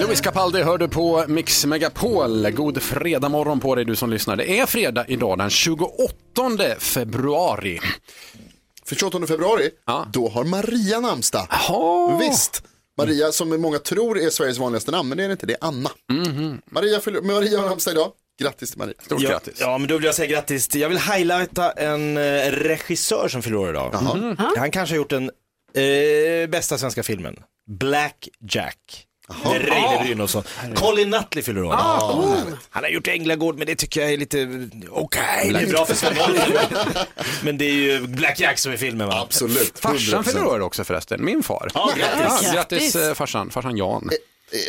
Louis Capaldi hör du på Mix Megapol. God fredag morgon på dig du som lyssnar. Det är fredag idag den 28 februari. För 28 februari, Ja. då har Maria namnsdag. Jaha. Visst, Maria som många tror är Sveriges vanligaste namn, men det är det inte, det är Anna. Maria, fyller- Maria har namnsdag idag, grattis till Maria. Mhm. Stort Ja, grattis. ja, men då vill jag säga grattis. till- Jag vill highlighta en eh, regissör som fyller år idag. Mhm. Han kanske har gjort den eh, bästa svenska filmen, Black Jack. Med Reine Brynolfsson. Colin Nutley fyller år. Han har gjort Änglagård men det tycker jag är lite eh, okej. Det är bra för Sven Wollter. Men det är ju Black Jack som är filmen va? Absolut. Farsan 100%. fyller år också förresten, min far. Ja, grattis. Ja, grattis eh, farsan, farsan Jan.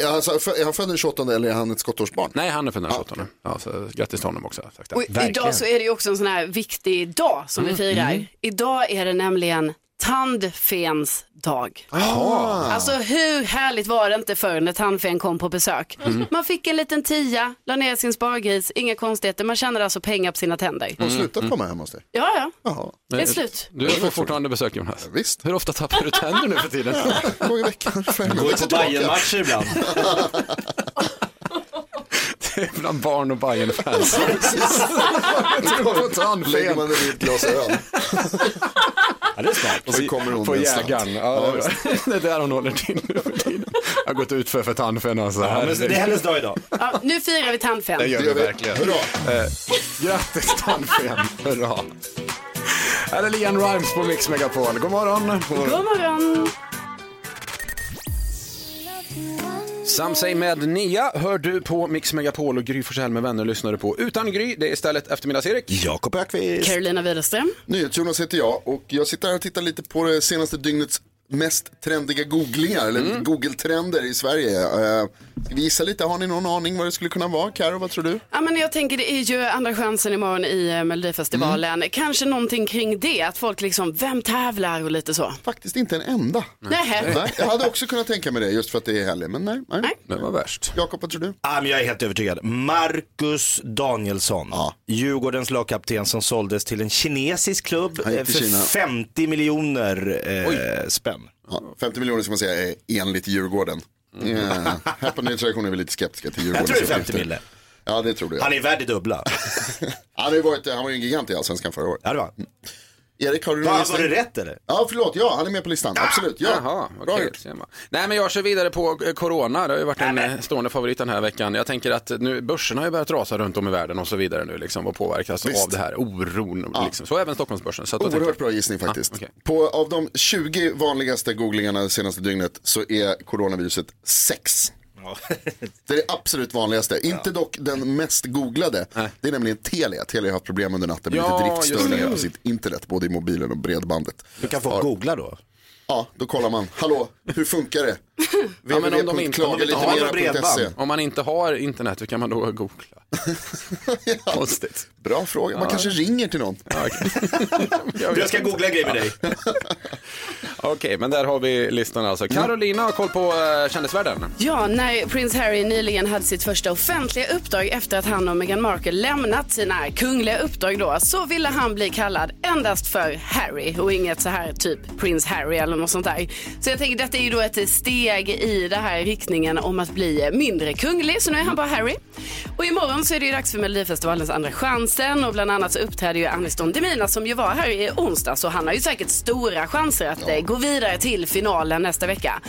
Är- Alltså, fö- är han född den 28 eller är han ett skottårsbarn? Nej, han är född den 28 ja, så Grattis till honom också. Tack, tack. Och idag så är det ju också en sån här viktig dag som Mm. vi firar. Idag är det nämligen tandfens dag. Alltså hur härligt var det inte förr när tandfen kom på besök? Mm. Man fick en liten tia, la ner sin spargris, inga konstigheter, man tjänade alltså pengar på sina tänder. Har hon mm. slutat komma hem hos dig? Ja, ja, Jaha, det är slut. Mm. Du får fortfarande besök Jonas. visst. Hur ofta tappar du tänder nu för tiden? En gång i veckan. fem Går ju gånger på tillbaka. Bajen-matcher ibland. Det är Bland barn och bajen fans Precis. Går på tandfen. Lägger man den i ett glas öl Ja, det är smart. och så kommer hon På med en slant. jägaren. Ja, det är- det är där hon håller till nu för tiden. Jag har gått ut för, för tandfen alltså. Ja, men det är hennes dag idag. Ja, nu firar vi tandfen. Det gör Det vi gör vi. verkligen. Hurra. Eh, grattis tandfen, hurra. Här är Lian Rimes på Mix Megapol. God morgon. God morgon! Sam sig med Nia hör du på Mix Megapol och Gry Forssell med vänner lyssnar du på. Utan Gry, det är istället eftermiddags-Erik. Jakob Ökvist. Carolina Widerström. NyhetsJonas heter jag och jag sitter här och tittar lite på det senaste dygnets mest trendiga googlingar, eller Mm. Google-trender i Sverige. Eh, Ska vi gissa lite, har ni någon aning vad det skulle kunna vara? Karo, vad tror du? Ja, men jag tänker det är ju andra chansen imorgon i eh, Melodifestivalen. Mm. Kanske någonting kring det, att folk liksom, vem tävlar och lite så. Faktiskt inte en enda. Nähä. Nej, jag hade också kunnat tänka mig det just för att det är helg, men nej. nej. Nej. Det var värst. Jakob, vad tror du? Ja, men jag är helt övertygad. Marcus Danielsson, Djurgårdens lagkapten som såldes till en kinesisk klubb eh, Han gick till för Kina. 50 miljoner eh, spänn. Ja, 50 miljoner ska man säga är enligt Djurgården. Eh, här på nyhetsredaktionen är vi lite skeptiska till Mm. Jag tror Djurgårdens det är 50 uppgifter. miljoner. Ja, det tror du. Han är värd det dubbla. Han, har ju varit, han var ju en gigant i Allsvenskan förra året. Mm. Ja, det var. Erik, har du någon Var, var gissning? det rätt eller? Ah! Ja, förlåt. Ja, han är med på listan. Absolut. Ja. Jaha, vad Bra kul. gjort. Ser man. Nej men jag kör vidare på eh, corona, det har ju varit en eh, stående favorit den här veckan. Jag tänker att nu, börserna har ju börjat rasa runt om i världen och så vidare nu liksom och påverkas Visst. av det här oron. Liksom. Så även Stockholmsbörsen. Så att då tänker Oerhört jag- bra gissning faktiskt. okej. på, av de 20 vanligaste googlingarna det senaste dygnet så är coronaviruset 6. Ja. Det är det absolut vanligaste. Inte dock den mest googlade. Det är nämligen Telia. Telia har haft problem under natten med Ja, lite just det. driftstörningar på sitt internet, både i mobilen och bredbandet. Du kan få googla då. Ja, då kollar man. Hallå, hur funkar det? Ja, men om de inte- om de inte har något www.klagalitemer.se. bredband. Om man inte har internet, hur kan man då googla? Konstigt. Bra fråga. Man kanske ringer till någon. Ja, Okej, Jag Jag vet ska inte. googla en grej med dig. Okej, men där har vi listan alltså. Carolina har koll på eh, kändisvärlden. Ja, när prins Harry nyligen hade sitt första offentliga uppdrag efter att han och Meghan Markle lämnat sina kungliga uppdrag då, så ville han bli kallad endast för Harry och inget så här typ prins Harry eller något sånt där. Så jag tänker detta är ju då ett steg i den här riktningen om att bli mindre kunglig, så nu är han bara Harry. Och imorgon så är det ju dags för Melodifestivalens Andra chansen och bland annat så uppträder ju Anis Don Demina som ju var här i onsdag så han har ju säkert stora chanser att eh, gå vidare till finalen nästa vecka.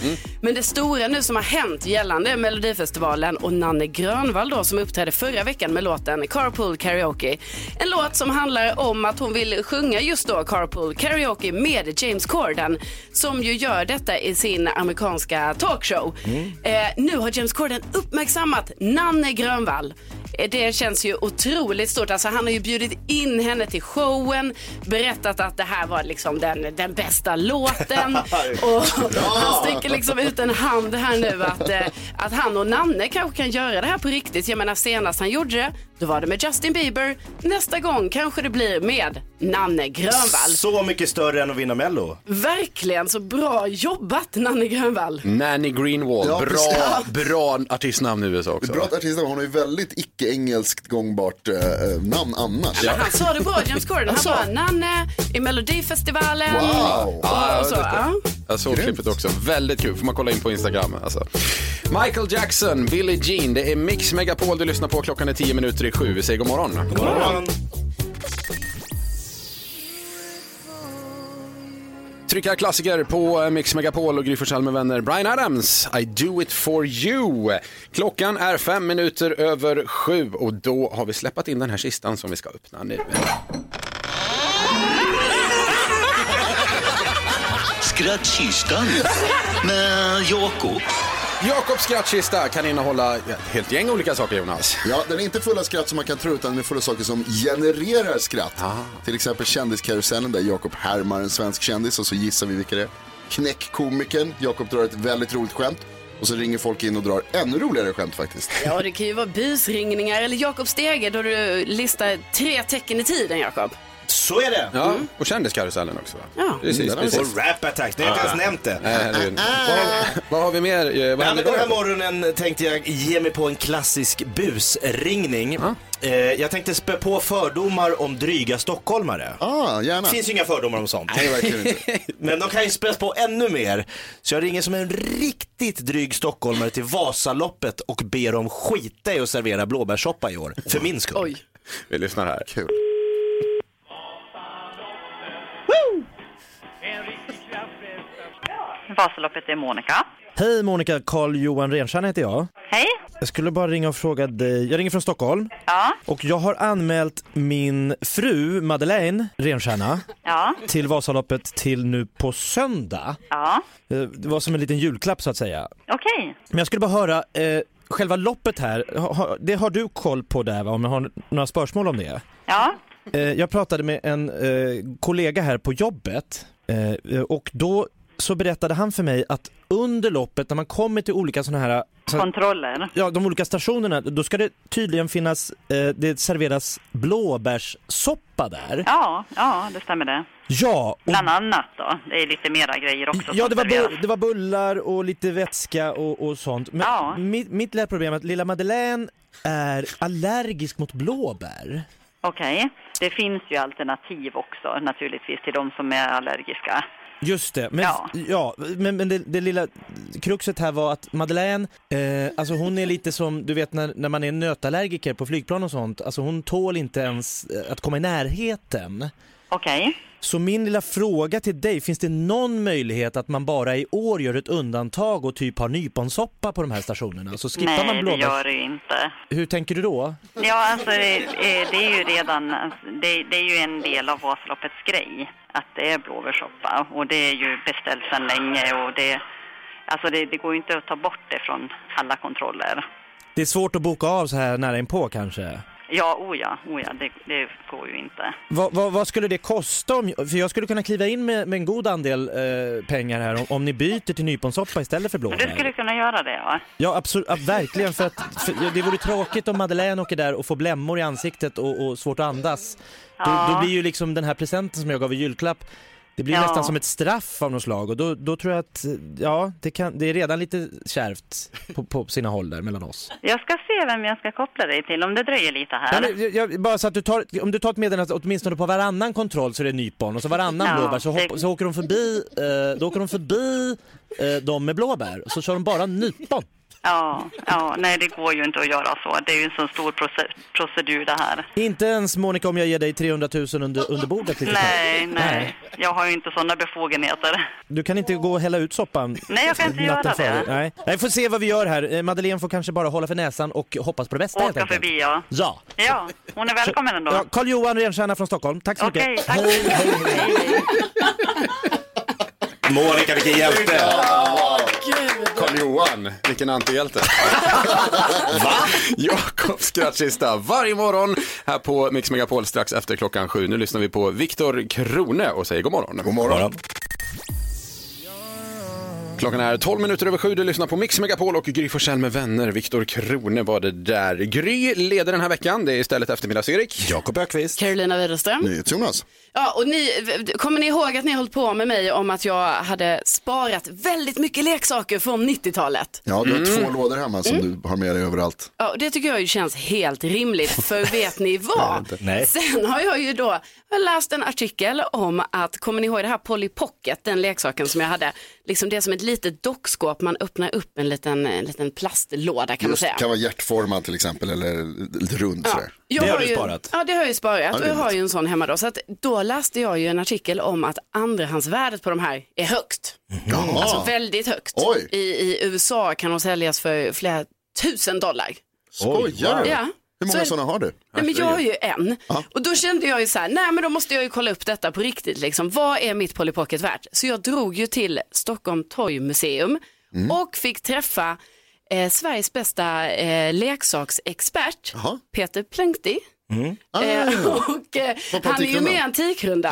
Men det stora nu som har hänt gällande Melodifestivalen och Nanne Grönvall då som uppträdde förra veckan med låten Carpool Karaoke. En låt som handlar om att hon vill sjunga just då Carpool Karaoke med James Corden som ju gör detta i sin amerikanska talkshow. Eh, nu har James Corden uppmärksammat Nanne Grönvall. Eh, Det känns ju otroligt stort. Alltså, han har ju bjudit in henne till showen, berättat att det här var liksom den, den bästa låten. och han sträcker liksom ut en hand här nu att, eh, att han och Nanne kanske kan göra det här på riktigt. Jag menar senast han gjorde det, då var det med Justin Bieber. Nästa gång kanske det blir med Nanne Grönvall. Så mycket större än att vinna Mello. Verkligen så bra jobbat Nanne Grönvall. Nanny Greenwall, Ja, bra, precis. bra artistnamn i USA också. Bra att artisten, hon har ju väldigt icke-engelskt gångbart eh, eh, namn annars. Men han sa det bra, James Corden. Han var Nanne eh, i Melodifestivalen. Alltså. Wow. Och, Ja, och så. jag vet det. Ja. Jag såg klippet också. Väldigt kul. Får man kolla in på Instagram. Alltså. Michael Jackson, Billie Jean. Det är Mix Megapol du lyssnar på. Klockan är 10 minuter i sju. Vi säger god morgon. Trycka klassiker på eh, Mix Megapol och Gry Forssell med vänner. Brian Adams, I do it for you. Klockan är fem minuter över sju och då har vi släppt in den här kistan som vi ska öppna nu. Skrattkistan med Jakob. Jakobs skrattkista kan innehålla ett helt gäng olika saker, Jonas. Ja, den är inte full av skratt som man kan tro utan den är full av saker som genererar skratt. Ah. Till exempel kändiskarusellen där Jakob härmar en svensk kändis och så gissar vi vilka det är. Knäckkomikern, Jakob drar ett väldigt roligt skämt och så ringer folk in och drar ännu roligare skämt faktiskt. ja, det kan ju vara busringningar eller Jakob Stege då du listar tre tecken i tiden, Jakob. Så är det. Ja, och kändiskarusellen också. Va? Ja. Precis, Mm, precis. Och Rap Attack, ni har inte ens nämnt Nej, det. herregud. Vad, har- vad har vi mer? Eh, Vad Ja, händer men den här idag? morgonen tänkte jag ge mig på en klassisk busringning. Eh, jag tänkte spä på fördomar om dryga stockholmare. Ah, gärna. Det finns ju inga fördomar om sånt. Nej, verkligen inte. Men de kan ju späs på ännu mer. Så jag ringer som en riktigt dryg stockholmare till Vasaloppet och ber dem skita i att servera blåbärssoppa i år. För min skull. Oj. Vi lyssnar här. Kul. Vasaloppet är Monica. Hej Monica, Carl-Johan Renstierna heter jag. Hej. Jag skulle bara ringa och fråga dig. Jag ringer från Stockholm Ja, och jag har anmält min fru Madeleine Renstierna ja, till Vasaloppet till nu på söndag. ja. Eh, Det var som en liten julklapp så att säga. Okej. Men jag skulle bara höra, eh, själva loppet här, ha- ha- det har du koll på där va? Om jag har n- några spörsmål om det? Ja, Eh, Jag pratade med en eh, kollega här på jobbet eh, och då så berättade han för mig att under loppet när man kommer till olika sådana här så- kontroller. ja, de olika stationerna, då ska det tydligen finnas, eh, det serveras blåbärssoppa där. Ja, ja, det stämmer det. Ja, och, Bland annat då. Det är lite mera grejer också ja som det, var serveras. bu- det var bullar och lite vätska och, och sånt. Men Ja. mitt, mitt lilla problem är att lilla Madeleine är allergisk mot blåbär. Okej. Det finns ju alternativ också naturligtvis till de som är allergiska. Just det, men, ja. Ja. men, men det, det lilla kruxet här var att Madeleine, eh, alltså hon är lite som, du vet när, när man är nötallergiker på flygplan och sånt, alltså hon tål inte ens eh, att komma i närheten. Okej. Så min lilla fråga till dig, finns det någon möjlighet att man bara i år gör ett undantag och typ har nyponsoppa på de här stationerna? Så skippar man Nej, det blåbärs... gör det ju inte. Hur tänker du då? Ja, alltså det, eh, det är ju redan, alltså, det, det är ju en del av Vasaloppets grej att det är blåbärssoppa och det är ju beställt sedan länge och det, alltså det, det går ju inte att ta bort det från alla kontroller. Det är svårt att boka av så här nära inpå kanske? Ja, oh ja, oh ja det, det går ju inte. Vad, vad, vad skulle det kosta? Om, för jag skulle kunna kliva in med, med en god andel eh, pengar här om, om ni byter till nyponsoppa istället för Men blåbär. du skulle kunna göra det, ja. Ja, absolut, ja, verkligen. För att, för, ja, det vore tråkigt om Madeleine åker där och får blämmor i ansiktet och, och svårt att andas. Då, då Ja. blir ju liksom den här presenten som jag gav i julklapp, det blir Ja. nästan som ett straff av något slag. Och då, då tror jag att, ja, det, kan, det är redan lite kärvt på, på sina håll där mellan oss. Jag ska se vem jag ska koppla dig till om det dröjer lite Ja, här. men, jag, jag, bara så att du tar, om du tar ett meddelande att åtminstone på varannan kontroll så är det nypon och så varannan Ja, blåbär så, hopp, det- så åker de förbi, eh, då åker de förbi eh, de med blåbär och så kör de bara nypon. Ja, ja, nej det går ju inte att göra så. Det är ju en sån stor proce- procedur det här. Inte ens Monica om jag ger dig 300 000 under, under bordet. lite snabbt. Nej, nej, jag har ju inte sådana befogenheter. Du kan inte gå och hälla ut soppan Nej, jag kan inte natten göra före. det. Nej. Nej, får se vad vi gör här. Eh, Madeleine får kanske bara hålla för näsan och hoppas på det bästa helt Åka enkelt. förbi, ja. Ja. Ja, hon är välkommen ändå. ja Carl-Johan Renstierna från Stockholm. Tack så Okej, mycket. tack. Monica vilken hjälte! Karl-Johan, vilken antihjälte. Va? Jakob skrattkista varje morgon här på Mix Megapol strax efter klockan sju. Nu lyssnar vi på Viktor Krone och säger god morgon. God morgon. Klockan är 12 minuter över sju, du lyssnar på Mix Megapol och Gry Forssell med vänner. Viktor Krone var det där. Gry leder den här veckan, det är istället eftermiddags-Erik. Jakob Ökvist. Carolina Widerström. Jonas. Ja, och ni, kommer ni ihåg att ni har hållit på med mig om att jag hade sparat väldigt mycket leksaker från Mm. 90-talet? Ja, du har två lådor hemma som du har med dig överallt. Ja, och det tycker jag ju känns helt rimligt, för vet ni vad? Nej. Sen har jag ju då jag har läst en artikel om att, kommer ni ihåg det här Polly Pocket, den leksaken som jag hade? Liksom det är som ett litet dockskåp, man öppnar upp en liten, en liten plastlåda kan man Just, säga. kan vara hjärtformad till exempel eller lite rund sådär. Jag Det har du ju, sparat. Ja, det har jag ju sparat det är och jag har rimligt. ju en sån hemma då. Så att då läste jag ju en artikel om att andrahandsvärdet på de här är högt. Jaha. Alltså väldigt högt. Oj. I, I USA kan de säljas för flera tusen dollar. Skojar du? Ja. Hur många Så- sådana har du? Nej, men jag har ju en. Och då kände jag ju så här, nej men då måste jag ju kolla upp detta på riktigt liksom. Vad är mitt Polly Pocket värt? Så jag drog ju till Stockholm Torgmuseum och fick träffa eh, Sveriges bästa eh, leksaksexpert, Jaha. Peter Plönkti. Ah, Eh, och eh, Var på han är ju med i Antikrundan?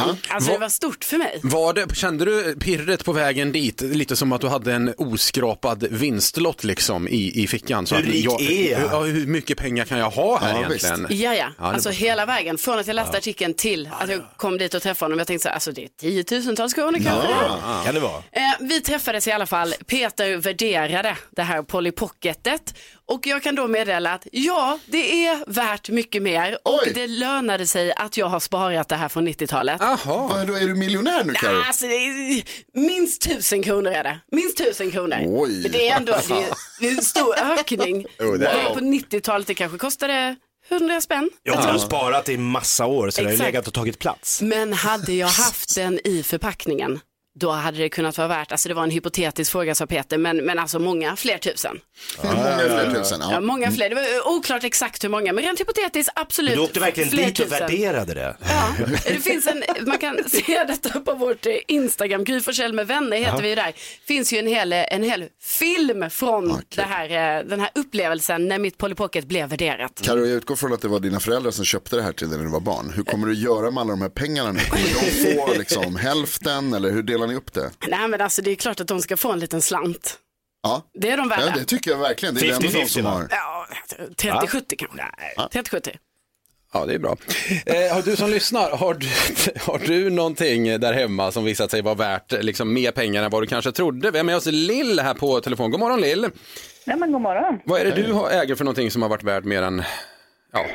Antikrundan. Alltså Va- det var stort för mig. Var det, kände du pirret på vägen dit, lite som att du hade en oskrapad vinstlott liksom i, i fickan? Så Hur att rik är jag? Hur, ja, hur mycket pengar kan jag ha här Ja, egentligen? Ja, ja. Ja, det Alltså var- hela vägen. Från att jag läste artikeln till att jag kom dit och träffade honom. Jag tänkte så här, alltså det är tiotusentals kronor kanske. Kan det vara? Eh, vi träffades i alla fall. Peter värderade det här Polly Pocketet. Och jag kan då meddela att ja, det är värt mycket mer. Och Oj. det lönade sig att jag har sparat det här från 90-talet. Jaha, Vad, då är du miljonär nu Carro? Alltså, det är, minst tusen kronor är det. Minst tusen kronor. Oj. Men Det är ändå det är, det är en stor ökning. Jo, det är Och På 90-talet det kanske kostade 100 spänn. Jag har sparat i massa år så det har ju Exakt. legat och tagit plats. Men hade jag haft den i förpackningen, då hade det kunnat vara värt, alltså det var en hypotetisk fråga sa Peter, men, men alltså många fler tusen. Många fler tusen. Mm. Ja. Ja. många fler, det var eh, oklart exakt hur många, men rent hypotetiskt absolut Du åkte verkligen fler dit och tusen. värderade det. Ja, det finns en, man kan se detta på vårt eh, Instagram, Gry Forssell med vänner heter vi ju där. finns ju en hel, eh, en hel film från det här, eh, den här upplevelsen när mitt Polly Pocket blev värderat. Mm. Carro, jag utgår från att det var dina föräldrar som köpte det här till dig när du var barn. Hur kommer du göra med alla de här pengarna nu? Kommer de få liksom, hälften eller hur delar ni upp det? Nej men alltså det är klart att de ska få en liten slant. Ja, Det är de värda. ja det tycker jag verkligen. Det är ändå de 50-50, som va? har. Oh, Ja, 30-70 kanske. 30-70. ja det är bra. Eh, har du som lyssnar, har du, har du någonting där hemma som visat sig vara värt liksom, mer pengar än vad du kanske trodde? Vi har med oss Lill här på telefon. God morgon Lill! Nej men god morgon. Vad är det du har- äger för någonting som har varit värt mer än, ja,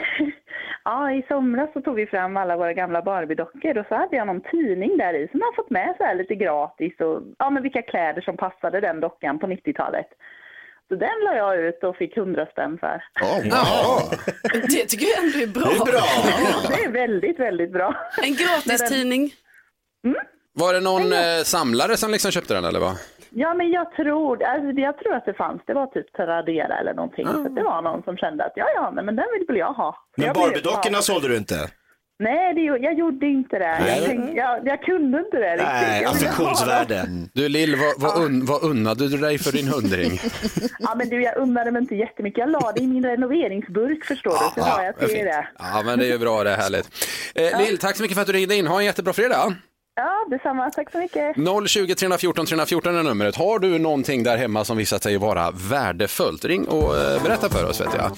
Ja, i somras så tog vi fram alla våra gamla Barbie-dockor och så hade jag någon tidning där i som man fått med så här lite gratis och ja men vilka kläder som passade den dockan på 90-talet. Så den la jag ut och fick 100 spänn för. Oh, wow. Det tycker jag ändå är bra. Det är väldigt, väldigt bra. En gratistidning. Var det någon eh, samlare som liksom köpte den eller vad? Ja men jag tror, alltså, jag tror att det fanns, det var typ Tradera eller någonting. Så att det var någon som kände att ja ja, nej, men den vill väl jag ha. Så Men jag blev- Barbiedockorna ja. sålde du inte? Nej, det, gjorde- jag gjorde inte det. Jag, tänkte, jag, jag kunde inte det riktigt. Nej, Jag ville ha affektionsvärde. Du Lill, vad, vad, un, vad unnade du dig för din hundring? Ja, men du, jag unnade mig inte jättemycket. Jag la det i min renoveringsburk, förstår du. Så la jag till det. Ja, men det är ju bra, det är härligt. Eh, Lill, tack så mycket för att du ringde in. Ha en jättebra fredag. Ja, detsamma. Tack så mycket. 020 314 314 är numret. Har du någonting där hemma som visat sig vara värdefullt, ring och eh, berätta för oss vet jag.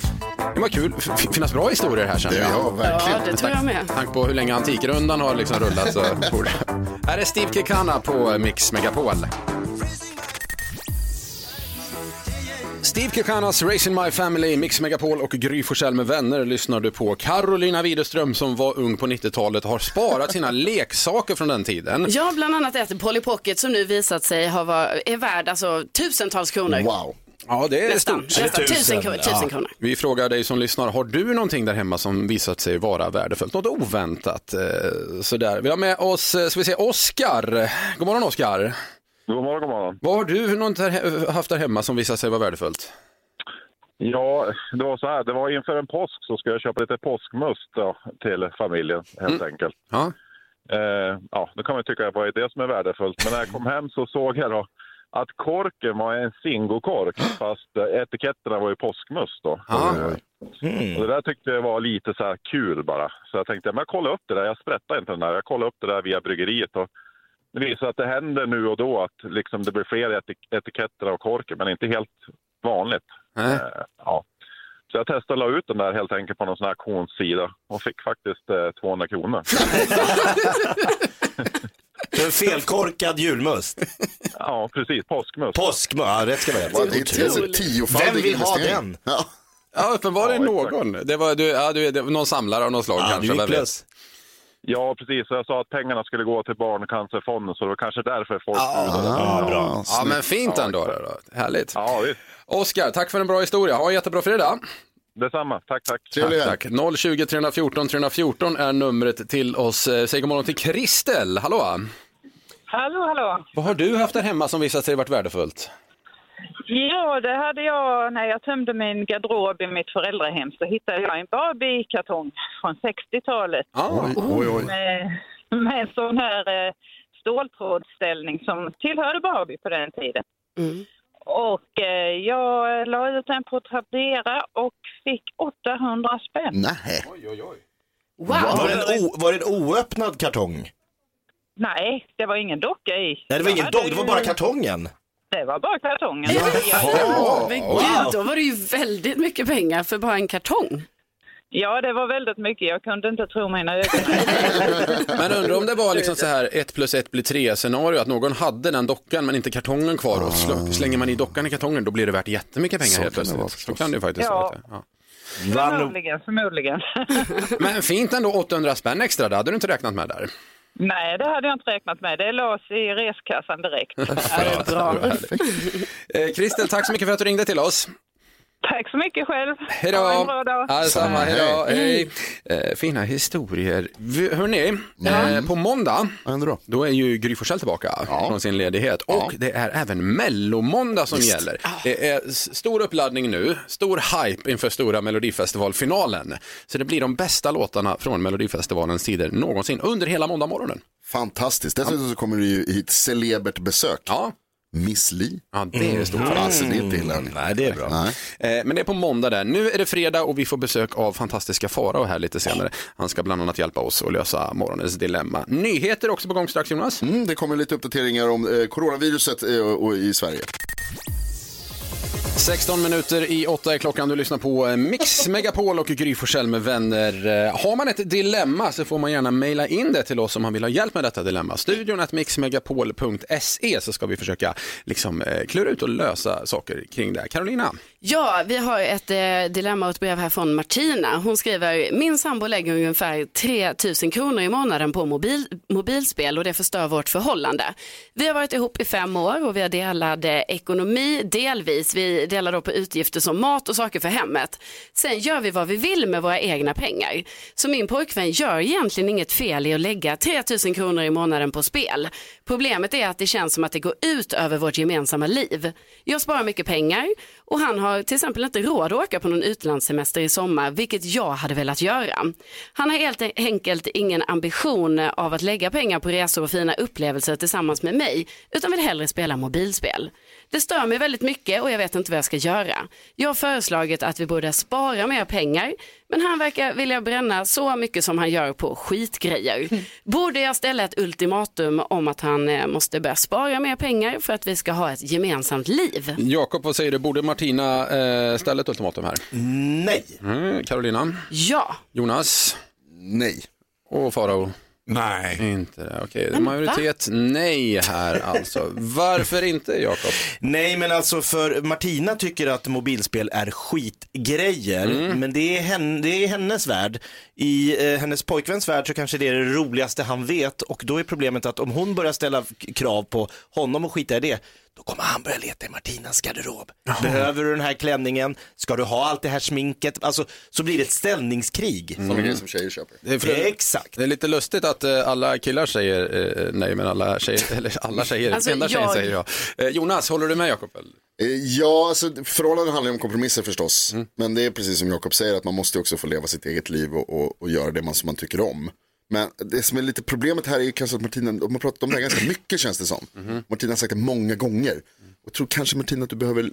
Det var kul, F- finnas bra historier här känner jag. Ja, verkligen. Ja, det tror jag med. Med tanke på hur länge Antikrundan har liksom rullat så borde... Här är Steve Kekana på Mix Megapol. Steve Kekanas Racing My Family, Mix Megapol och Gry Forssell med vänner lyssnar du på. Carolina Widerström som var ung på 90-talet har sparat sina leksaker från den tiden. Jag har bland annat ett Polly Pocket som nu visat sig ha var, är värd alltså, tusentals kronor. Wow. Ja, det är Nästan, stort. nästan tusen, tusen? kronor, tusen Ja. kronor. Vi frågar dig som lyssnar, har du någonting där hemma som visat sig vara värdefullt? Något oväntat? eh, Sådär. Vi har med oss, eh, ska vi se, Oskar. God morgon Oskar. God morgon, god morgon. Vad har du något där, he- haft där hemma som visat sig vara värdefullt? Ja, det var så här. Det var inför en påsk så skulle jag köpa lite påskmust då, till familjen helt enkelt. Ja. Eh, ja, då kan man ju tycka att vad är det som är värdefullt? Men när jag kom hem så såg jag då att korken var en singokork fast eh, etiketterna var ju påskmust då. Eh, Ja. Och det där tyckte jag var lite så här kul bara. Så jag tänkte, men jag kollar upp det där. Jag sprättar inte den där. Jag kollar upp det där via bryggeriet och det visar att det händer nu och då att liksom det blir fler etik- etiketter av korken, men inte helt vanligt. Eh, ja. Så jag testade och la ut den där helt enkelt på någon sån här auktionssida och fick faktiskt eh, 200 kronor. För en felkorkad julmust. Ja, precis. Påskmust. Påskmust, ja, rätt ska vara rätt. Vad är det? Otroligt. Tiofaldig Vem vill ha investering. den? Ja. Ja, uppenbarligen Ja, exakt. någon. Det var, du, ja, du, det var någon samlare av något slag Ja, du kanske. gick vem vet. lös. Ja, precis. Jag sa att pengarna skulle gå till Barncancerfonden, så det var kanske därför folk... Ja, bra. Ja, men fint ändå. Då, då. Härligt. Ja, visst. Oskar, tack för en bra historia. Ha en jättebra fredag. Detsamma. Tack, tack. Trevlig helg. Tack. 020 314 314 är numret till oss. Eh, Säg god morgon till Kristel. Hallå! Hallå, hallå. Vad har du haft där hemma som visat sig varit värdefullt? Ja, det hade jag när jag tömde min garderob i mitt föräldrahem så hittade jag en Barbie-kartong från 60-talet Ah, Ja, Oj, oj. med, med en sån här eh, ståltrådsställning som tillhörde Barbie på den tiden. Mm. Och eh, jag la ut den på Tradera och fick 800 spänn. Nej. Var det, en o, var det en oöppnad kartong? Nej, det var ingen docka i. Nej, det var Jag ingen hade dog, det var ju- bara kartongen. Det var bara kartongen. Men gud, då var det ju väldigt mycket pengar för bara en kartong. Ja, det var väldigt mycket. Jag kunde inte tro mina ögon. Men undrar om det var liksom så här ett plus ett blir tre scenario, att någon hade den dockan men inte kartongen kvar och sl- slänger man i dockan i kartongen då blir det värt jättemycket pengar Ah. Så helt kan det vara plötsligt. Så förstås. kan det ju faktiskt Ja. vara. Ja. Vann, Förmodligen, förmodligen. Men fint ändå, 800 spänn extra, det hade du inte räknat med där. Nej, det hade jag inte räknat med. Det lades i reskassan direkt. Bra. Eh, Kristel, tack så mycket för att du ringde till oss. Tack så mycket själv. Hej då! Ha en bra dag. Ja, detsamma. hej då! Hej. Hej. Eh, fina historier. Vi- Hörrni, eh, på måndag Vad händer Mm. då? Då är ju Gry Forssell tillbaka från sin ledighet och det är även mellomåndag som gäller. Ah. Det är s- stor uppladdning nu, stor hype inför stora melodifestivalfinalen. Så det blir de bästa låtarna från melodifestivalens tider någonsin under hela måndagmorgonen. Fantastiskt. Dessutom så kommer det ju hit celebert besök. Ja, Miss Li. ja det är ju stort. Mm. Alltså det är inte illa. nej, det är bra. Nej. Eh, Men det är på måndag där. Nu är det fredag och vi får besök av fantastiska Farao här lite senare. Han ska bland annat hjälpa oss att lösa morgonens dilemma. Nyheter också på gång strax Jonas. Mm, det kommer lite uppdateringar om eh, coronaviruset eh, och, och i Sverige. 16 minuter i 8 är klockan. Du lyssnar på eh, Mix Megapol och Gry Forssell med vänner. Eh, Har man ett dilemma så får man gärna mejla in det till oss om man vill ha hjälp med detta dilemma. Studion att mixmegapol.se så ska vi försöka liksom eh, klura ut och lösa saker kring det. här. Carolina, Ja, vi har ett eh, dilemma och ett brev här från Martina. Hon skriver, min sambo lägger ungefär 3 000 kronor i månaden på mobil, mobilspel och det förstör vårt förhållande. Vi har varit ihop i fem år och vi har delad eh, ekonomi delvis. Vi delar då på utgifter som mat och saker för hemmet. Sen gör vi vad vi vill med våra egna pengar. Så min pojkvän gör egentligen inget fel i att lägga 3 000 kronor i månaden på spel. Problemet är att det känns som att det går ut över vårt gemensamma liv. Jag sparar mycket pengar och han har till exempel inte råd att åka på någon utlandssemester i sommar, vilket jag hade velat göra. Han har helt enkelt ingen ambition av att lägga pengar på resor och fina upplevelser tillsammans med mig, utan vill hellre spela mobilspel. Det stör mig väldigt mycket och jag vet inte vad jag ska göra. Jag har föreslagit att vi borde spara mer pengar, men han verkar vilja bränna så mycket som han gör på skitgrejer. Borde jag ställa ett ultimatum om att han eh, måste börja spara mer pengar för att vi ska ha ett gemensamt liv? Jakob vad säger du? Borde Martina eh, ställa ett ultimatum här? Nej. Mm, Carolina, Ja, Jonas Nej. och Farao. Nej. Inte det. Okej, majoritet nej här alltså. Varför inte Jakob? Nej, men alltså för Martina tycker att mobilspel är skitgrejer, Mm. men det är, hen, det är hennes värld. I eh, hennes pojkväns värld så kanske det är det roligaste han vet och då är problemet att om hon börjar ställa k- krav på honom och skita i det, då kommer han börja leta i Martinas garderob. Behöver du den här klänningen? Ska du ha allt det här sminket? Alltså, så blir det ett ställningskrig. Mm. Sådana grejer som tjejer köper. Det är, för- Exakt. det är lite lustigt att eh, alla killar säger eh, nej, men alla tjejer, eller alla tjejer, Alltså, enda tjejen jag- säger ja. Eh, Jonas, håller du med Jakob? eller? Eh, Ja, alltså, förhållanden handlar ju om kompromisser förstås. Men det är precis som Jakob säger att man måste ju också få leva sitt eget liv och, och, och göra det man, som man tycker om. Men det som är lite problemet här är ju kanske att Martina, de har pratat om det här ganska mycket känns det som. Martina har sagt det många gånger. Och jag tror kanske Martina att du behöver,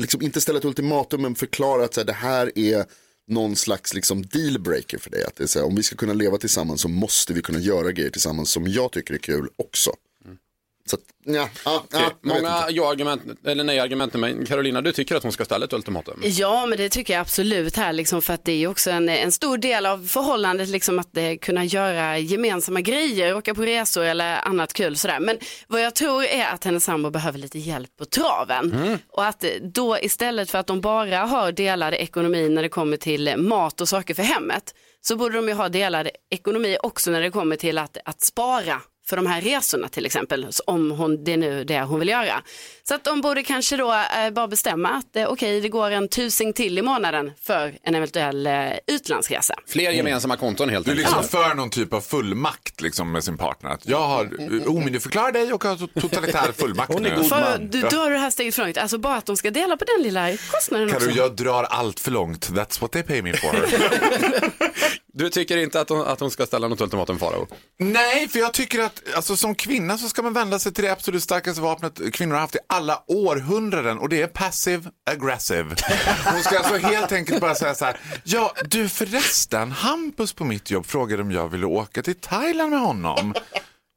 liksom inte ställa ett ultimatum men förklara att så här, det här är någon slags liksom dealbreaker för dig. Att det är så här, om vi ska kunna leva tillsammans så måste vi kunna göra grejer tillsammans som jag tycker är kul också. Så att, ja, ja, ja, jag vet Många ja-argument, eller nej-argument till mig. Carolina, du tycker att hon ska ställa ett ultimatum. Ja, men det tycker jag absolut här, liksom, för att det är ju också en, en stor del av förhållandet, liksom, att eh, kunna göra gemensamma grejer, åka på resor eller annat kul. Sådär. Men vad jag tror är att hennes sambo behöver lite hjälp på traven. Och att eh, då istället för att de bara har delad ekonomi när det kommer till eh, mat och saker för hemmet, så borde de ju ha delad ekonomi också när det kommer till att, att spara för de här resorna till exempel, så om hon, det är nu det hon vill göra. Så att de borde kanske då eh, bara bestämma att eh, okej, det går en tusing till i månaden för en eventuell eh, utlandsresa. Fler Mm. gemensamma konton helt Du är enkelt. liksom för någon typ av fullmakt liksom, med sin partner. Att jag har omyndigförklarar dig och har to- totalitär fullmakt nu. för, du då har du det här steget från alltså bara att de ska dela på den lilla kostnaden Kan också. du, jag drar allt för långt. That's what they pay me for. Du tycker inte att hon, att hon ska ställa något ultimatum, Farao? Nej, för jag tycker att alltså, som kvinna så ska man vända sig till det absolut starkaste vapnet kvinnor har haft i alla århundraden och det är passive aggressive. Hon ska alltså helt enkelt bara säga så här, ja du förresten, Hampus på mitt jobb frågade om jag ville åka till Thailand med honom.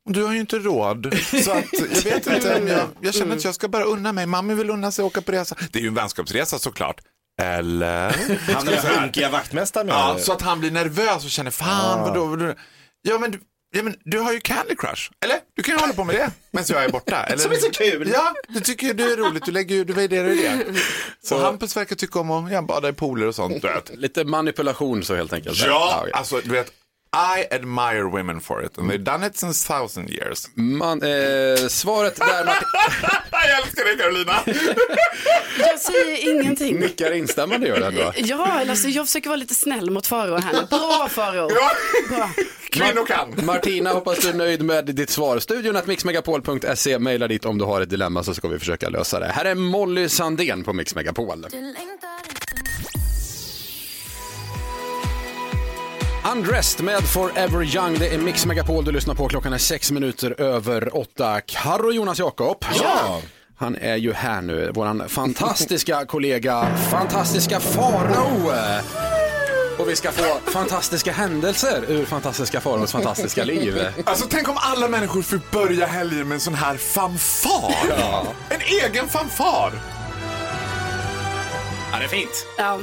Och Du har ju inte råd, så att, jag vet inte om jag, jag känner att jag ska bara unna mig. Mamma vill unna sig att åka på resa. Det är ju en vänskapsresa såklart. Eller? Han är funkiga vaktmästaren menar Ja, du? så att han blir nervös och känner fan Ah. vadå, vadå? Ja men, du- ja men du har ju Candy Crush, eller? Du kan ju hålla på med det medan jag är borta. Eller? Som är så kul. Ja, du tycker ju du är roligt, du lägger ju, du värderar ju det. Så Hampus verkar tycka om att ja, bada i pooler och sånt. Du vet. Lite manipulation så helt enkelt. Ja, okej. alltså du vet, I admire women for it and they've done it since thousand years. Man, eh, svaret där Martin jag älskar dig Carolina! Jag säger ingenting. nickar instämmande gör det ändå. Ja, eller alltså, jag försöker vara lite snäll mot Faro här nu. Bra Faro! Bra. Kvinnor kan! Martina, hoppas du är nöjd med ditt svar. Studion att mixmegapol.se, mejla dit om du har ett dilemma så ska vi försöka lösa det. Här är Molly Sandén på Mix Megapol. Undressed med Forever Young, det är Mix Megapol du lyssnar på. Klockan är sex minuter över åtta. Karro Jonas Jakob. Ja! Han är ju här nu, våran fantastiska kollega, fantastiska Farao. Och vi ska få fantastiska händelser ur fantastiska Faraos fantastiska liv. Alltså tänk om alla människor fick börja helgen med en sån här fanfar! En egen fanfar! Ja, det är fint. Ja.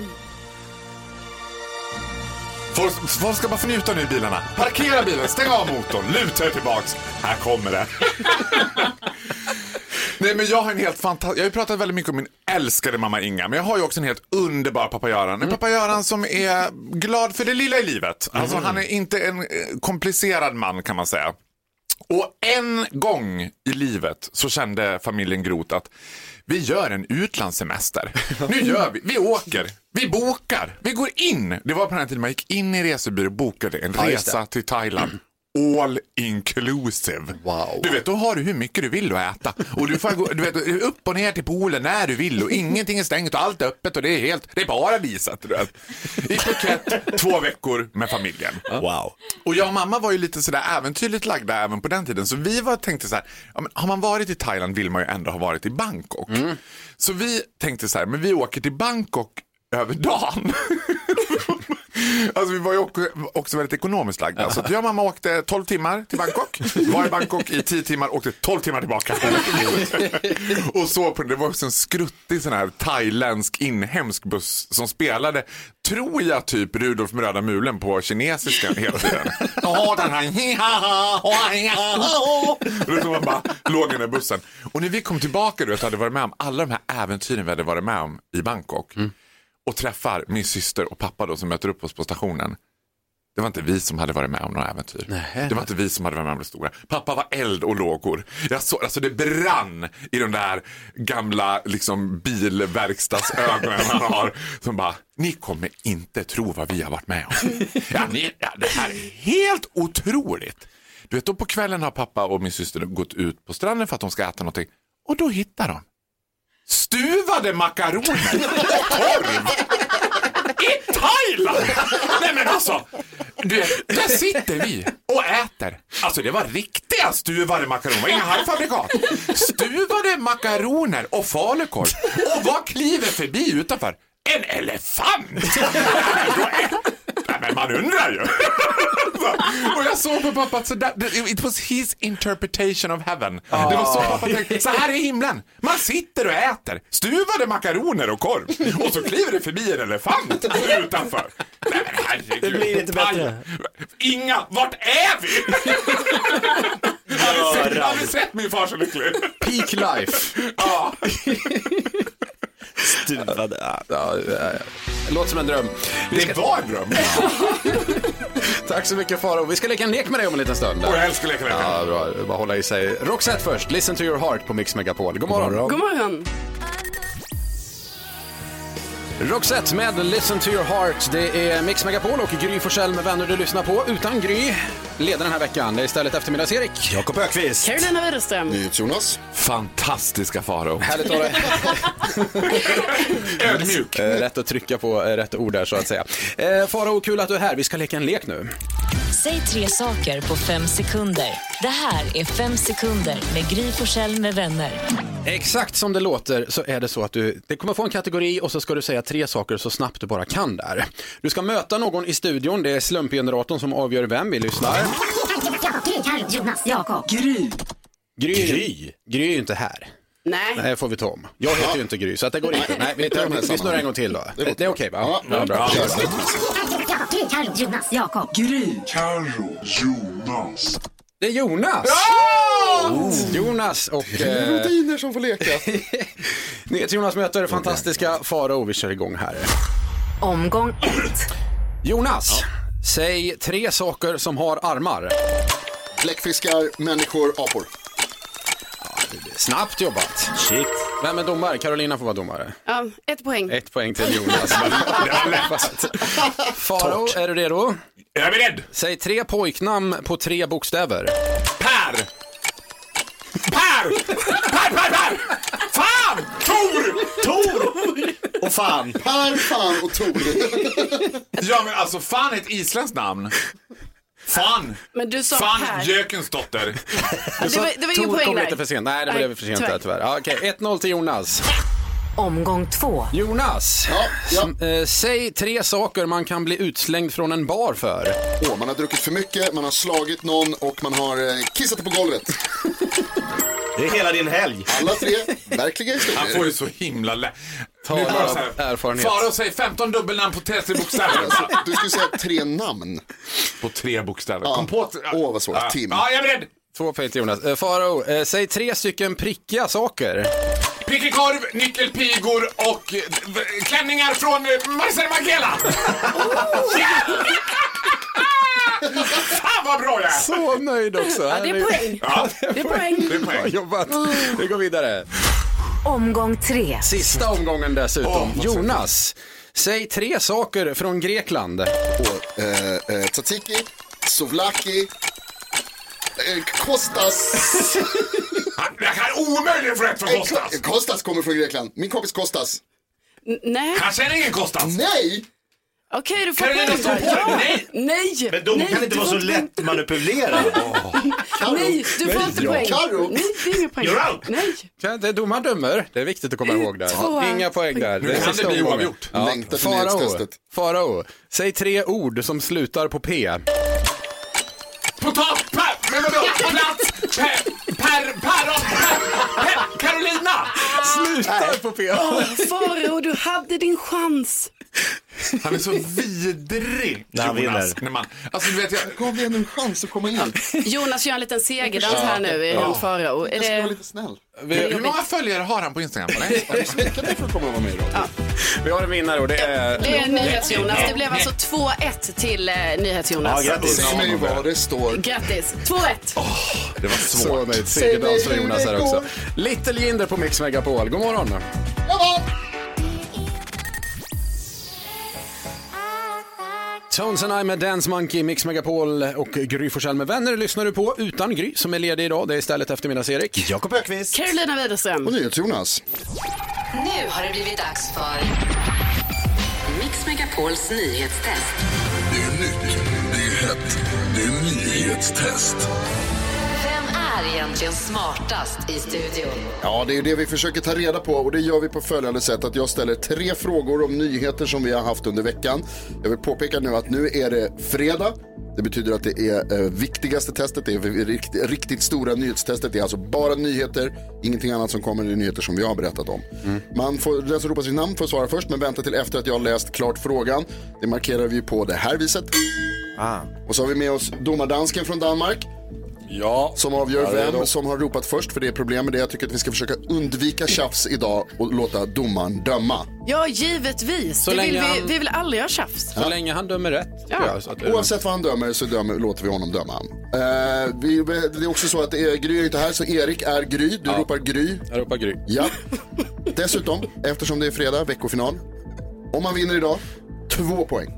Folk, folk ska bara få njuta nu i bilarna. Parkera bilen, stäng av motorn, luta er tillbaks. Här kommer det. Nej men jag har en helt fantastisk, jag har ju pratat väldigt mycket om min älskade mamma Inga, men jag har ju också en helt underbar pappa Göran. Mm. En pappa Göran som är glad för det lilla i livet. Alltså Mm. han är inte en eh, komplicerad man kan man säga. Och en gång i livet så kände familjen Groth att vi gör en utlandssemester. Nu gör vi, vi åker, vi bokar, vi går in. Det var på den här tiden man gick in i resebyrå och bokade en Ja, just det. resa till Thailand. All inclusive. Wow. Du vet, då har du hur mycket du vill att äta. Och du får gå du vet, upp och ner till poolen när du vill och ingenting är stängt och allt är öppet och det är helt, det är paradiset. Du vet. I Phuket, två veckor med familjen. Wow. Och jag och mamma var ju lite sådär äventyrligt lagda även på den tiden. Så vi var, tänkte så här, ja, men har man varit i Thailand vill man ju ändå ha varit i Bangkok. Så vi tänkte så här, men vi åker till Bangkok över dagen. Alltså vi var ju också, också väldigt ekonomiskt lagda. Så att jag och mamma åkte 12 timmar till Bangkok, var i Bangkok i 10 timmar, åkte 12 timmar tillbaka. och så på, det var också en skruttig sån här thailändsk inhemsk buss som spelade, tror jag, typ Rudolf med röda mulen på kinesiska hela tiden. Och den här hi-ha-ha, ho-hi-ha-ho. Och då så man bara låg i den där bussen. Och när vi kom tillbaka du vet, hade jag varit med om alla de här äventyren vi hade varit med om i Bangkok och träffar min syster och pappa då som möter upp oss på stationen. Det var inte vi som hade varit med om några äventyr. Det var inte vi som hade varit med om det stora. Pappa var eld och lågor. Jag såg, alltså det brann i de där gamla liksom, bilverkstadsögonen han har. Som bara, ni kommer inte tro vad vi har varit med om. Ja, ni, ja, det här är helt otroligt. Du vet, då på kvällen har pappa och min syster gått ut på stranden för att de ska äta någonting. Och då hittar de stuvade makaroner och korv i Thailand! Nej men alltså, du, vet, där sitter vi och äter. Alltså det var riktiga stuvade makaroner, det var inga halvfabrikat. Stuvade makaroner och falukorv. Och vad kliver förbi utanför? En elefant! Nej, då är- Nej, men Men man undrar ju. Och jag såg på pappa att så där, det- it was his interpretation of heaven. Det var så pappa tänkte, så här är himlen. Man sitter och äter stuvade makaroner och korv och så kliver det förbi en elefant utanför. Nej, men herregud. Det blir inte bättre. Inga, vart är vi? Har ni sett- Har ni sett min far så lycklig? Peak life. Ja. Stuvad. Ja, ja, ja. Låter som en dröm. Vi ska... Det var en dröm. Tack så mycket Faro. Vi ska leka en lek med dig om en liten stund. Och jag älskar leka med dig. Ja, bra. Bara hålla i sig. Roxette först, Listen to your heart på Mix Megapol. God morgon. God morgon. Roxette med Listen to your heart. Det är Mix Megapol och Gry Forssell med vänner du lyssnar på. Utan Gry leder den här veckan. Det är istället eftermiddags-Erik. Jakob Ökvist. Carolina Widerström. Jonas. Fantastiska Faro. Härligt att ha dig. Ödmjuk. Eh, Rätt att trycka på eh, rätt ord där så att säga. Eh, Farao, kul att du är här. Vi ska leka en lek nu. Säg tre saker på fem sekunder. Det här är Fem sekunder med Gry Forssell med vänner. Exakt som det låter så är det så att du det kommer få en kategori och så ska du säga tre saker så snabbt du bara kan där. Du ska möta någon i studion. Det är slumpgeneratorn som avgör vem vi lyssnar. Gry, Carro, Jonas, Jakob. Gry. Gry. Gry. är ju inte här. Nej. Det får vi ta om. Jag heter ju inte Gry så att det går inte. Nej, vi, Inte i de här vi snurrar en gång till då. Det, det är okej va? Ja, bra. Gry, Carro, Jonas, Jakob. Gry. Carro. Jonas. Det är Jonas! Oh. Jonas och... är Eh, Rhodiner som får leka. Nyhets Jonas möter fantastiska Farao. Vi kör igång här. Omgång ett. Jonas, säg tre saker som har armar. Bläckfiskar, människor, apor. Snabbt jobbat. Shit. Vem är domare? Carolina får vara domare. Ja, ett poäng. Ett poäng till Jonas. Faro, är du redo? Jag är beredd. Säg tre pojknamn på tre bokstäver. Per! Per! Per, Per, Per! Fan! Tor! Tor! Och fan. Per, fan och Tor. Ja men alltså fan är ett isländskt namn. Fan! Men du sa fan Per. Jökens dotter. Ja, det var, det var ingen Tor poäng kom där. lite för sent. Nej, det Nej, blev för sent där tyvärr. Ja, Okej, 1-0 till Jonas. Omgång två. Jonas, eh, ja, säg tre saker man kan bli utslängd från en bar för. Åh, man har druckit för mycket, man har slagit någon och man har eh, kissat på golvet. Det är hela din helg. Alla tre verkliga Han får historier. ju så Alltså, himla lätt. Ta av erfarenhet. Farao säger 15 dubbelnamn på 30 bokstäver. Alltså, Du skulle säga tre namn. på tre bokstäver. Ja. Kom på ett- Åh, vad svårt. Ja. Tim. Ja, jag är beredd. Två poäng till Jonas. Eh, Faro, eh, säg tre stycken prickiga saker. Prickekorv, nyckelpigor och eh, v- klänningar från eh, Marcel Margiela. Oh! Ja! Fan vad bra jag är! Så nöjd också. Ja, det är poäng. Ja, Det är poäng. Mm. det är Bra poäng. jobbat. Vi går vidare. Omgång tre. Sista omgången dessutom. Åh, vad Jonas, säg tre saker från Grekland. Och, eh, eh, tzatziki, souvlaki, eh, Kostas. Han- Jag kan omöjligen få rätt från Eh, Kostas. Ko- Kostas kommer från Grekland. Min kompis Kostas. N- Nej, Han känner ingen Kostas. Nej! okej du får Carolina, poäng. stå på dig. Nej. Nej, Men de nej, kan inte du vara så får lätt manipulerad. Karo. Nej, du får inte Ja, poäng. Karo. Nej, det är ingen poäng. You're out. Nej. Ja, Det är domaren dömer. Det är viktigt att komma ihåg där. Tvåa. Inga poäng där. Nu kan det sista bli omgången. oavgjort. Ja. Längtar till Farao, nyhetstestet. Farao, säg tre ord som slutar på P. Potat, per, men vadå? Plats, per, per, päron, per, per, Carolina! Slutar på P. Faro, du hade din chans. Han är så vidrig, När han vinner. När man, alltså, du vet, jag, Gav vi henne en chans att komma in? Jonas gör en liten segerdans här nu i runt Faro. Är Jag ska vara det... lite snäll. hur många följare har han på Instagram? Har du sminkat dig för att komma och vara med i radio? Vi har en vinnare och det är... Det är NyhetsJonas. Det blev alltså 2-1 till eh, NyhetsJonas. Ja, grattis. Säg mig vad det står. Grattis. 2-1. Det var svårt. Så nöjd. Segerdans för Jonas här också. Little Jinder på Mix Megapol. God morgon. Tones and I med Dance Monkey, Mix Megapol och Gry Forssell med vänner lyssnar du på utan Gry som är ledig idag. Det är istället eftermiddags-Erik. Jakob Ökvist. Carolina Widerström. Och NyhetsJonas. Nu har det blivit dags för Mix Megapols nyhetstest. Det är nytt, det är hett, det är nyhetstest. Vem är egentligen smartast i studion? Ja, det är ju det vi försöker ta reda på och det gör vi på följande sätt att jag ställer tre frågor om nyheter som vi har haft under veckan. Jag vill påpeka nu att nu är det fredag. Det betyder att det är eh, viktigaste testet, det är riktigt, riktigt stora nyhetstestet. Det är alltså bara nyheter, ingenting annat som kommer, det är nyheter som vi har berättat om. Mm. Man får, den som ropar sitt namn får svara först, men vänta till efter att jag har läst klart frågan. Det markerar vi på det här viset. Och så har vi med oss domardansken från Danmark. Ja. Som Ja, avgör det är vem de. som har ropat först, för det är problem med det. Jag tycker att vi ska försöka undvika tjafs idag och låta domaren döma. Ja, givetvis. Så det vill länge vi, han- vi vill aldrig göra tjafs. Ja. länge han dömer rätt. Ja. tror jag, så att det- Oavsett vad han dömer så dömer, låter vi honom döma. Eh, vi, det är också så att eh, Gry är inte här, så Erik är Gry. Du ropar Gry. Jag ropar Gry. Ja. Dessutom, eftersom det är fredag, veckofinal. Om man vinner idag, två poäng.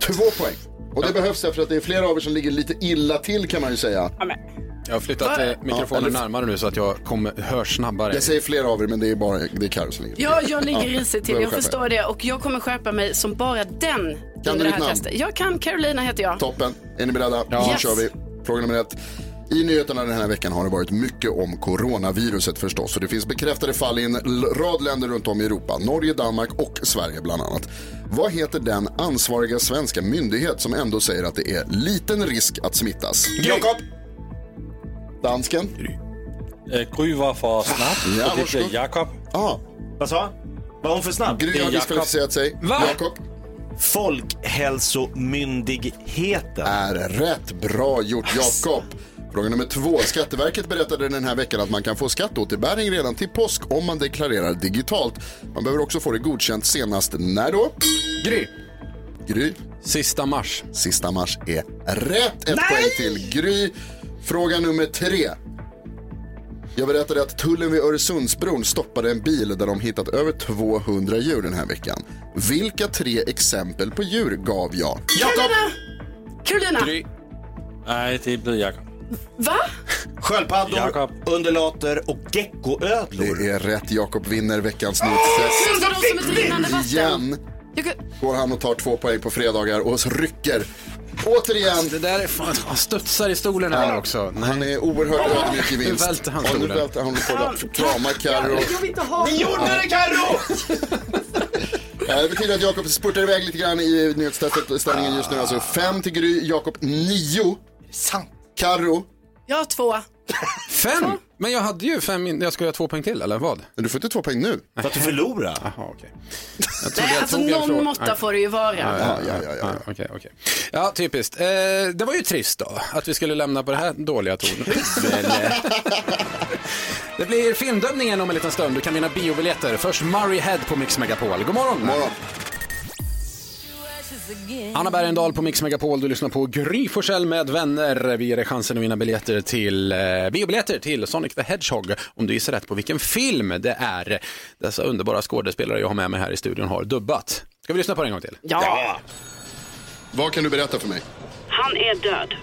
Två poäng. Och det behövs därför att det är flera av er som ligger lite illa till kan man ju säga. Jag har flyttat eh, mikrofonen Ja, eller- närmare nu så att jag kommer, hör snabbare. Jag säger flera av er, men det är bara det är Karo som ligger Ja, jag ligger Ja, risigt till. då är Jag det förstår det. Och jag kommer skärpa mig som bara den Kan du under det ditt här namn? testet. Jag kan. Carolina heter jag. Toppen. Är ni beredda? Ja. Ja. Nu Yes. kör vi. Fråga nummer ett. I nyheterna den här veckan har det varit mycket om coronaviruset förstås. Och det finns bekräftade fall i en l- rad länder runt om i Europa. Norge, Danmark och Sverige bland annat. Vad heter den ansvariga svenska myndighet som ändå säger att det är liten risk att smittas? Jakob! Dansken? Øh, Gry var for snart, Ja, ja, og det varsågod. bliver Jakob. Ja. Hvad så? Var hun for snart? Gry har diskvalificerat sig. Va? Jakob? Folkhälsomyndigheten. Är rätt. Bra gjort, Jakob. Fråga nummer två. Skatteverket berättade den här veckan att man kan få skatteåterbäring redan till påsk om man deklarerar digitalt. Man behöver också få det godkänt senast när då? Gry. Gry. Sista mars. Sista mars är rätt. Ett poäng till Gry. Fråga nummer tre. Jag berättade att tullen vid Öresundsbron stoppade en bil där de hittat över 200 djur den här veckan. Vilka tre exempel på djur gav jag? Carolina! Carolina! Nej, det typ er blevet Jakob. Va? Sköldpaddor, undulater och geckoödlor. Det är rätt. Jakob vinner veckans nyhetstest. Finns det någon som är drinnande vatten? Igen Jag kan- går han och tar två poäng på fredagar och så rycker återigen. Det där är fan, han studsar i stolen här också. Han är oerhört ödmjuk i Nu vinst. välter han Ja, nu stolen. välter han och får krama Carro. vill inte ha Ni gjorde det Carro! Eh, Det betyder att Jakob spurtar iväg lite grann i nyhetstestet. Ställningen just nu alltså 5 till Gry, Jakob 9. Sant. Carro. Jag har två. Fem? Men jag hade ju fem, in- jag skulle ha två poäng till eller vad? Du får inte två poäng nu. För att du förlorade. Jaha, okej. Jag trodde Nej, jag alltså tog en någon fråga. måtta Nej. får det ju vara. Ja, ja, ja, ja, ja. Okej, okej. ja typiskt. Eh, det var ju trist då, att vi skulle lämna på det här dåliga tonen. Men, eh, det blir filmdömningen om en liten stund. Du kan vinna biobiljetter. Först Murray Head på Mix Megapol. God morgon! morgon. Anna Bergendahl på Mix Megapol. Du lyssnar på Gry Forssell med vänner. Vi ger dig chansen att vinna biljetter till, eh, biobiljetter till Sonic the Hedgehog om du gissar rätt på vilken film det är dessa underbara skådespelare jag har med mig här i studion har dubbat. Ska vi lyssna på det en gång till? Ja. Vad kan du berätta för mig? Han är död.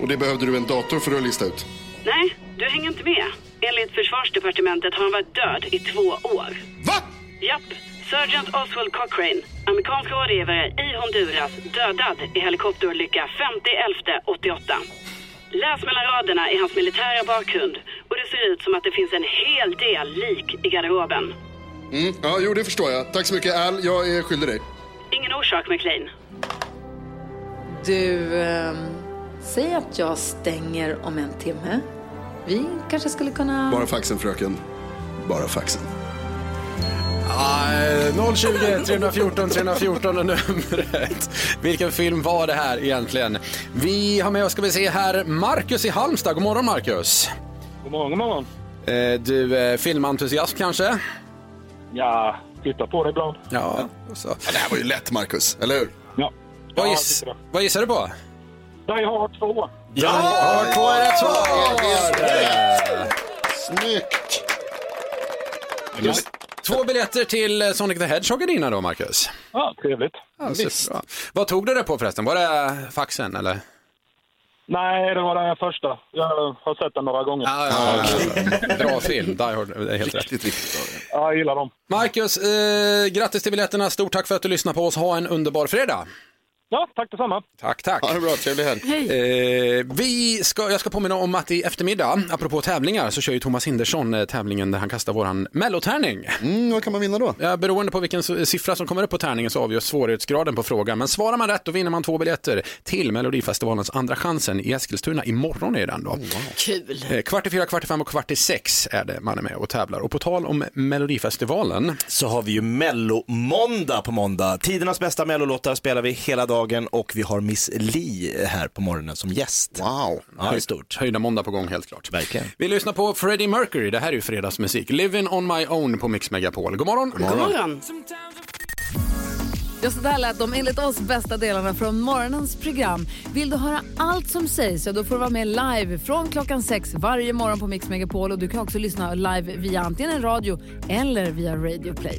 Och det behövde du en dator för att lista ut. Nej, du hänger inte med. Enligt försvarsdepartementet har han varit död i två år. Va? Japp. Sergeant Oswald Cochrane, amerikansk rådgivare i Honduras, dödad i helikopterolycka 50-11-88. Läs mellan raderna i hans militära bakgrund och det ser ut som att det finns en hel del lik i garderoben. Mm, ja, jo, det förstår jag. Tack så mycket, Al. Jag är skyldig dig. Ingen orsak, McLean. Du, ehm, säg att jag stänger om en timme. Vi kanske skulle kunna... Bara faxen, fröken. Bara faxen. Ah, 020 314 314 är numret. Vilken film var det här egentligen? Vi har med oss, ska vi se här, Marcus i Halmstad. God morgon Marcus. God morgon, god morgon. Eh, Du, eh, filmentusiast kanske? Ja, tittar på det ibland. Ja. Så. Ja, det här var ju lätt, Marcus. Eller hur? Ja. Vad, giss, vad gissar du på? Jag har två. Ja, två är rätt svar! Snyggt! Just. Två biljetter till eh, Sonic the Hedgehog är dina då, Marcus. Ja, trevligt. Ja, så bra. Vad tog du det på förresten? Var det faxen eller? Nej, det var den första. Jag har sett den några gånger. Ja, ja, ja. Bra film, Die Hard, det är helt rätt. Ja, jag gillar dem. Marcus, eh, grattis till biljetterna. Stort tack för att du lyssnar på oss. Ha en underbar fredag. Ja, tack detsamma. Tack, tack. Ha det bra, trevlig helg. Eh, vi ska, jag ska påminna om att i eftermiddag, apropå tävlingar, så kör ju Thomas Hindersson eh, tävlingen där han kastar våran mellotärning. Mm, vad kan man vinna då? Ja, beroende på vilken s- siffra som kommer upp på tärningen så avgörs svårighetsgraden på frågan. Men svarar man rätt då vinner man två biljetter till Melodifestivalens Andra chansen i Eskilstuna. Imorgon är Oh, den då. Kul. Eh, Kvart i fyra, kvart i fem och kvart i sex är det man är med och tävlar. Och på tal om Melodifestivalen. Så har vi ju Mellomåndag på måndag. Tidernas bästa mellolåtar spelar vi hela dagen och vi har Miss Li här på morgonen som gäst. Wow, ja, det är stort. Höjda måndag på gång helt klart. Verkligen. Vi lyssnar på Freddie Mercury, det här är ju fredagsmusik. Living on my own på Mix Megapol. God morgon! God morgon. Ja, så där lät de enligt oss bästa delarna från morgonens program. Vill du höra allt som sägs så då får du vara med live från klockan sex varje morgon på Mix Megapol. Och du kan också lyssna live via antingen en radio eller via Radio Play.